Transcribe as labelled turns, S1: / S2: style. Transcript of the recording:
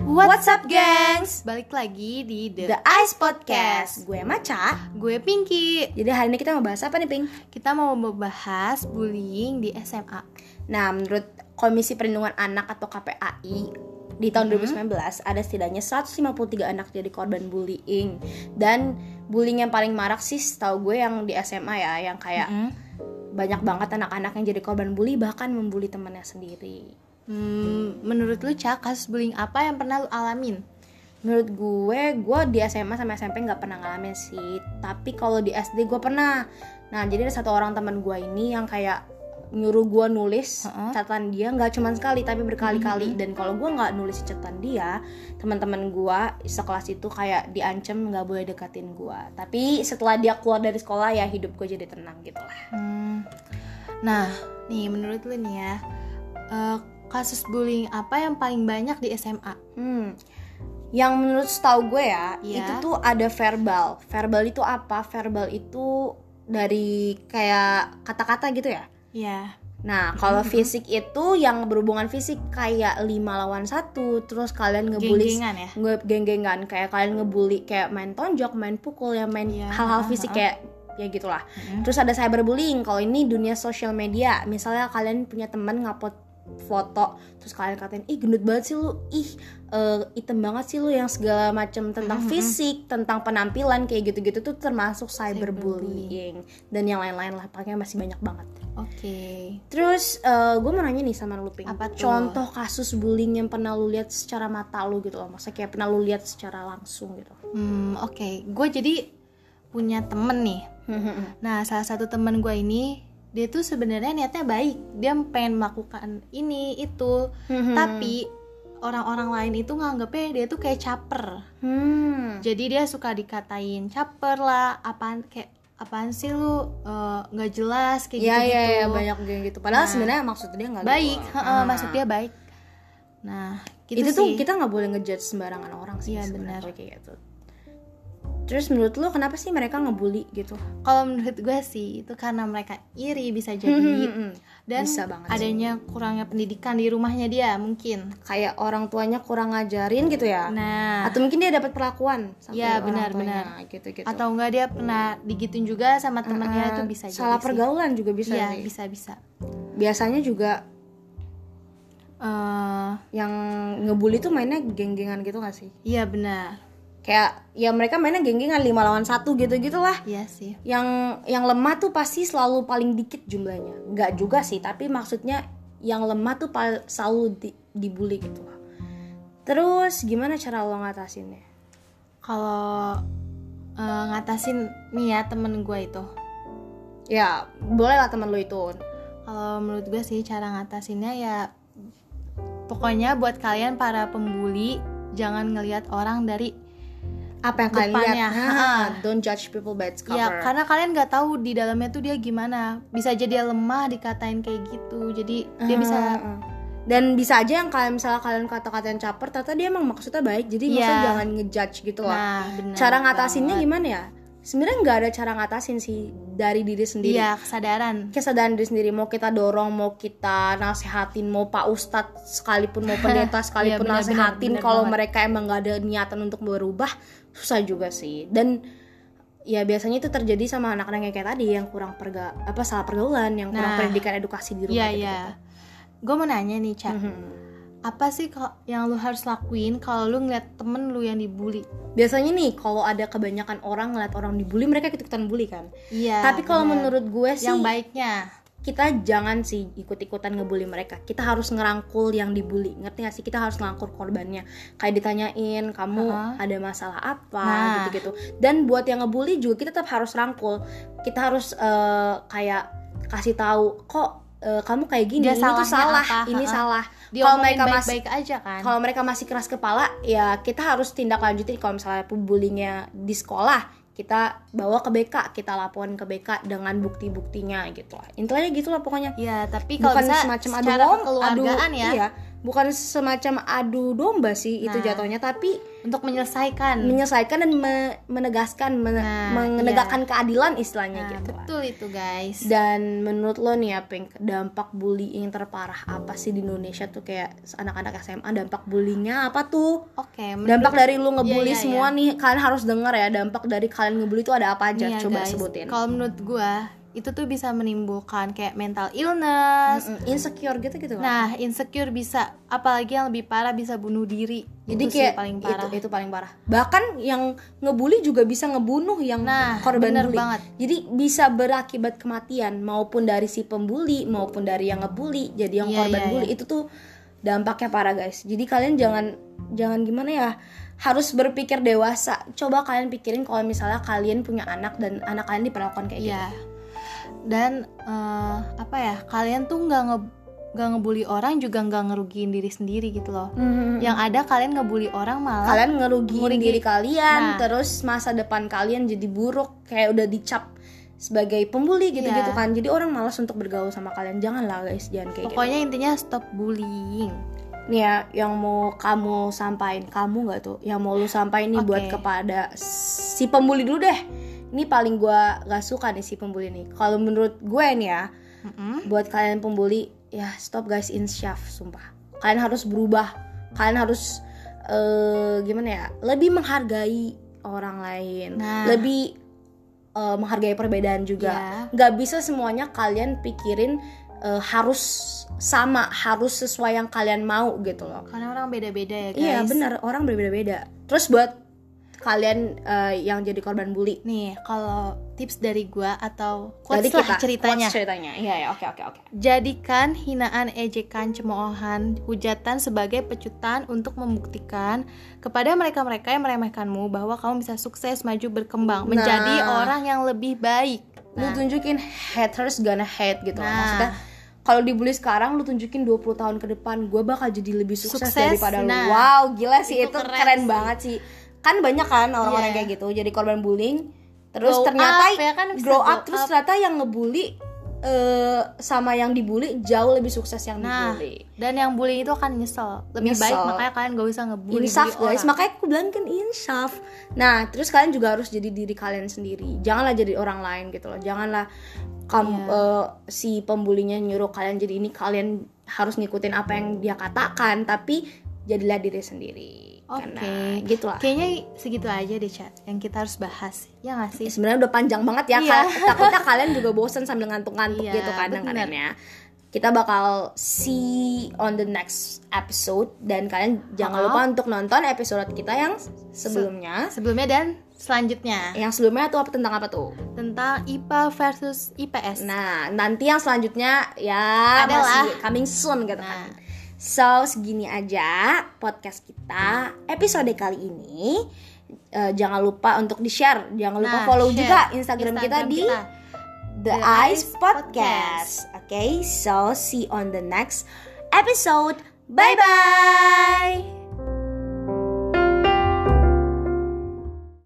S1: What's up, gengs?
S2: Balik lagi di The,
S1: The Ice Podcast. Gue Maca.
S2: Gue Pinky.
S1: Jadi hari ini kita mau bahas apa nih, Ping?
S2: Kita mau membahas bullying di SMA.
S1: Nah, menurut Komisi Perlindungan Anak atau KPAI di tahun 2019 ada setidaknya 153 anak jadi korban bullying dan bullying yang paling marak sih setahu gue yang di SMA ya yang kayak
S2: Mm-mm.
S1: banyak banget anak-anak yang jadi korban bully bahkan membuli temannya sendiri
S2: Hmm, menurut lu Cak, kasus bullying apa yang pernah lu alamin?
S1: menurut gue gue di SMA sama SMP nggak pernah ngalamin sih tapi kalau di SD gue pernah nah jadi ada satu orang teman gue ini yang kayak nyuruh gue nulis
S2: Heeh.
S1: catatan dia nggak cuman sekali tapi berkali-kali dan kalau gue nggak nulis catatan dia teman-teman gue sekelas itu kayak diancam nggak boleh deketin gue tapi setelah dia keluar dari sekolah ya hidup gue jadi tenang gitu lah
S2: Hmm, Nah, nih menurut lu nih ya, eh, kasus bullying apa yang paling banyak di SMA?
S1: Hmm. Yang menurut setahu gue ya,
S2: Iya.
S1: itu tuh ada verbal. Verbal itu apa? Verbal itu dari kayak kata-kata gitu ya.
S2: Ya,
S1: Nah, kalau fisik itu yang berhubungan fisik kayak 5 lawan satu, terus kalian ngebully
S2: geng-gengan ya.
S1: nge geng-gengan kayak kalian ngebully kayak main tonjok, main pukul ya, main
S2: Iya,
S1: hal-hal fisik
S2: ha-ha.
S1: kayak ya gitulah.
S2: Mm-mm.
S1: Terus ada cyberbullying. Kalau ini dunia sosial media. Misalnya kalian punya teman ngupload foto terus kalian katain ih gendut banget sih lu ih eh, item banget sih lu yang segala macam tentang
S2: Mm-mm.
S1: fisik tentang penampilan kayak gitu-gitu tuh termasuk cyberbullying dan yang lain-lain lah pakai masih banyak banget
S2: Oke.
S1: terus gue mau nanya nih sama lu Pink
S2: Apa tuh?
S1: contoh kasus bullying yang pernah lu lihat secara mata lu gitu loh maksudnya kayak pernah lu lihat secara langsung gitu
S2: Hmm, oke. Gue jadi punya temen nih. Nah, salah satu temen gue ini dia tuh sebenarnya niatnya baik. Dia pengen melakukan ini itu,
S1: Hmm.
S2: tapi orang-orang lain itu nganggepnya dia tuh kayak caper.
S1: Hmm.
S2: Jadi dia suka dikatain caper lah, apaan kayak apaan sih lu eh, nggak jelas kayak
S1: ya
S2: gitu.
S1: ya ya banyak yang gitu
S2: Nah.
S1: padahal sebenarnya maksud dia nggak
S2: Baik,
S1: gitu.
S2: heeh,
S1: Nah.
S2: maksud dia baik. Nah, gitu
S1: itu tuh
S2: sih.
S1: kita nggak boleh ngejudge sembarangan orang sih
S2: Iya,
S1: sebenarnya
S2: benar.
S1: kalau kayak gitu terus menurut lo kenapa sih mereka ngebully gitu
S2: Kalau menurut gue sih itu karena mereka iri bisa jadi dan
S1: Bisa banget sih.
S2: adanya kurangnya pendidikan di rumahnya dia mungkin.
S1: kayak orang tuanya kurang ngajarin gitu ya
S2: Nah,
S1: atau mungkin dia dapat perlakuan sama
S2: Iya,
S1: orang
S2: benar,
S1: tuanya, gitu-gitu
S2: atau enggak dia pernah digituin juga sama temennya
S1: Eh,
S2: itu bisa jadi
S1: salah
S2: sih.
S1: pergaulan juga bisa
S2: iya
S1: sih.
S2: bisa bisa
S1: biasanya juga
S2: Eh,
S1: yang ngebully tuh mainnya geng-gengan gitu gak sih
S2: iya benar
S1: kayak ya mereka mainnya geng-gengan lima lawan satu gitu gitulah
S2: iya sih
S1: yang yang lemah tuh pasti selalu paling dikit jumlahnya nggak juga sih tapi maksudnya yang lemah tuh pal- selalu di, dibully gitu loh terus gimana cara lo ngatasinnya
S2: kalau eh, ngatasin nih ya temen gue itu
S1: ya boleh lah teman lo itu
S2: kalau menurut gue sih cara ngatasinnya ya pokoknya buat kalian para pembuli jangan ngelihat orang dari
S1: apa yang kalian lihat
S2: Depannya,
S1: Ha,
S2: ha.
S1: don't judge people by its cover
S2: ya karena kalian nggak tahu di dalamnya tuh dia gimana bisa jadi dia lemah dikatain kayak gitu jadi dia
S1: Ah,
S2: bisa
S1: Heeh. dan bisa aja yang kalian misalnya kalian kata-katain caper ternyata dia emang maksudnya baik jadi
S2: Iya.
S1: maksudnya jangan ngejudge gitu loh
S2: nah benar Iya,
S1: cara ngatasinnya
S2: banget.
S1: gimana ya sebenarnya nggak ada cara ngatasin sih dari diri sendiri
S2: iya kesadaran
S1: kesadaran diri sendiri mau kita dorong mau kita nasehatin mau pak ustadz sekalipun mau pendeta sekalipun
S2: Iya, benar,
S1: nasehatin
S2: benar, benar
S1: kalau
S2: banget.
S1: mereka emang nggak ada niatan untuk berubah susah juga sih dan ya biasanya itu terjadi sama anak-anak yang kayak tadi yang kurang perga apa salah pergaulan yang kurang
S2: Nah.
S1: pendidikan edukasi
S2: Iya
S1: di rumah gitu
S2: iya. Ya. Gue mau nanya nih Cak,
S1: Mhm.
S2: apa sih kal- yang lu harus lakuin kalau lu ngeliat temen lu yang dibully?
S1: biasanya nih kalau ada kebanyakan orang ngeliat orang dibully mereka ikut ikutan bully kan
S2: Iya.
S1: tapi kalau
S2: benar.
S1: menurut gue sih
S2: yang baiknya,
S1: kita jangan sih ikut-ikutan ngebully mereka. Kita harus ngerangkul yang dibully. Ngerti gak sih? Kita harus ngerangkul korbannya. Kayak ditanyain, kamu
S2: Heeh.
S1: ada masalah apa
S2: Nah.
S1: gitu-gitu. Dan buat yang ngebully juga kita tetap harus rangkul. Kita harus eh, kayak kasih tahu kok eh, kamu kayak gini,
S2: Dia
S1: ini tuh
S2: salahnya
S1: salah,
S2: apa?
S1: ini
S2: Heeh.
S1: salah.
S2: dia
S1: Kalau
S2: kalau
S1: mereka
S2: mereka
S1: masih-
S2: baik-baik aja kan?
S1: Kalau mereka masih keras kepala, ya kita harus tindak lanjutin kalau misalnya pembulinya di sekolah, kita bawa ke BK, kita laporan ke BK dengan bukti-buktinya gitu lah. Intinya gitu lah pokoknya
S2: Iya, tapi kalau
S1: bukan
S2: bisa
S1: semacam adu
S2: secara
S1: wong-
S2: kekeluargaan
S1: adu-
S2: ya.
S1: iya, bukan semacam adu domba sih itu
S2: Nah.
S1: jatuhnya tapi
S2: untuk menyelesaikan.
S1: menyelesaikan dan me- menegaskan men-
S2: Nah,
S1: menegakkan keadilan istilahnya
S2: Nah,
S1: gitu lah.
S2: betul itu guys.
S1: Dan menurut lo nih ya Pink, dampak bullying terparah apa sih di Indonesia tuh kayak anak-anak SMA dampak bullyingnya apa tuh?
S2: Oke,
S1: dampak dari lu
S2: Iya,
S1: ngebully
S2: iya, iya.
S1: semua nih, kalian harus dengar ya dampak dari kalian ngebully itu ada apa aja?
S2: Nih ya,
S1: Coba
S2: guys,
S1: sebutin.
S2: Kalau menurut gua itu tuh bisa menimbulkan kayak mental illness.
S1: Mm-mm, insecure gitu gitu kan.
S2: Nah, insecure bisa apalagi yang lebih parah bisa bunuh diri.
S1: Jadi
S2: Itu sih
S1: kayak
S2: paling parah.
S1: itu itu paling parah. Bahkan yang ngebully juga bisa ngebunuh yang
S2: Nah,
S1: korban
S2: bener
S1: bully.
S2: banget.
S1: Jadi bisa berakibat kematian maupun dari si pembuli maupun dari yang ngebully. Jadi yang
S2: Iya,
S1: korban
S2: iya,
S1: bully itu tuh dampaknya parah guys. Jadi kalian jangan jangan gimana ya harus berpikir dewasa. Coba kalian pikirin kalau misalnya kalian punya anak dan anak kalian diperlakukan kayak gitu.
S2: Iya. Dan eh, apa ya? Kalian tuh nggak nge nggak ngebully orang juga nggak ngerugiin diri sendiri gitu loh. Yang ada kaliin ngebully orang malah
S1: kalian ngerugiin
S2: Ngerugi-
S1: diri kalian
S2: Nah.
S1: terus masa depan kalian jadi buruk kayak udah dicap sebagai pembuli gitu-gitu
S2: Iya.
S1: kan jadi orang malas untuk bergaul sama kalian janganlah guys jangan kayak
S2: pokoknya intinya stop bullying.
S1: gitu nih ya yang mau kamu sampaikan kamu nggak tuh yang mau lu sampaikan nih
S2: Oke.
S1: buat kepada si pembuli dulu deh ini paling gua gak suka nih si pembuli nih kalau menurut gue nih ya
S2: Mm-mm.
S1: buat kalian pembuli ya stop guys insyaf sumpah kalian harus berubah kalian harus eh, gimana ya lebih menghargai orang lain
S2: Nah.
S1: lebih eh, menghargai perbedaan juga
S2: Ya.
S1: nggak bisa semuanya kalian pikirin eh, harus sama harus sesuai yang kalian mau gitu loh
S2: Karena orang beda-beda ya, guys.
S1: iya benar orang berbeda-beda terus buat kalian eh, yang jadi korban bully
S2: Nih, kalau tips dari gua atau
S1: Jadi
S2: quotes lah ceritanya.
S1: quotes ceritanya iya ya oke oke oke
S2: Jadikan hinaan, ejekan, cemoohan, hujatan sebagai pecutan untuk membuktikan kepada mereka-mereka yang meremehkanmu bahwa kamu bisa sukses, maju, berkembang,
S1: Nah.
S2: menjadi orang yang lebih baik.
S1: lu
S2: Nah,
S1: tunjukin haters gonna hate gitu loh.
S2: Nah.
S1: maksudnya kalau dibully sekarang lu tunjukin 20 tahun ke depan gue bakal jadi lebih sukses,
S2: Sukses,
S1: daripada
S2: nah.
S1: lu wow gila sih itu,
S2: Itu
S1: keren,
S2: keren sih.
S1: banget sih kan banyak kan orang-orang
S2: Iya.
S1: kayak gitu jadi korban bullying
S2: Grow
S1: terus ternyata
S2: up, ya kan, bisa
S1: grow
S2: grow
S1: up terus
S2: up.
S1: ternyata yang ngebully eh sama yang dibully jauh lebih sukses yang
S2: Nah,
S1: dibully
S2: dan yang bullying itu akan nyesel. Lebih
S1: Nyesel.
S2: baik makanya kalian gak usah ngebully
S1: insaf
S2: bully
S1: guys
S2: orang.
S1: makanya aku bilang kan insaf nah terus kalian juga harus jadi diri kalian sendiri janganlah jadi orang lain gitu loh janganlah kamu
S2: Iya.
S1: eh, si pembulinya nyuruh kalian jadi ini kalian harus ngikutin apa yang dia katakan tapi jadilah diri sendiri karena
S2: Oke.
S1: gitu lah
S2: Kayaknya segitu aja deh, Cak, yang kita harus bahas. Ya gak sih?
S1: sebenarnya udah panjang banget ya
S2: Iya.
S1: Kal- takutnya kalian juga bosen sambil ngantuk-ngantuk
S2: Iya,
S1: gitu kadang
S2: bener.
S1: kadang ya kita bakal see on the next episode dan kalian jangan
S2: Ha-ha.
S1: lupa untuk nonton episode kita yang sebelumnya
S2: Sebelumnya dan selanjutnya
S1: yang sebelumnya tuh apa tentang apa tuh?
S2: tentang IPA versus IPS.
S1: Nah, nanti yang selanjutnya ya
S2: Adalah-
S1: masih coming soon gitu
S2: Nah.
S1: kan. So, segini aja podcast kita episode kali ini. Eh, jangan lupa untuk di-share, jangan lupa
S2: Nah,
S1: follow
S2: share
S1: juga Instagram, kita di The,
S2: The
S1: Eyes
S2: Eyes
S1: Podcast. Oke, so see you on the next episode. Bye bye.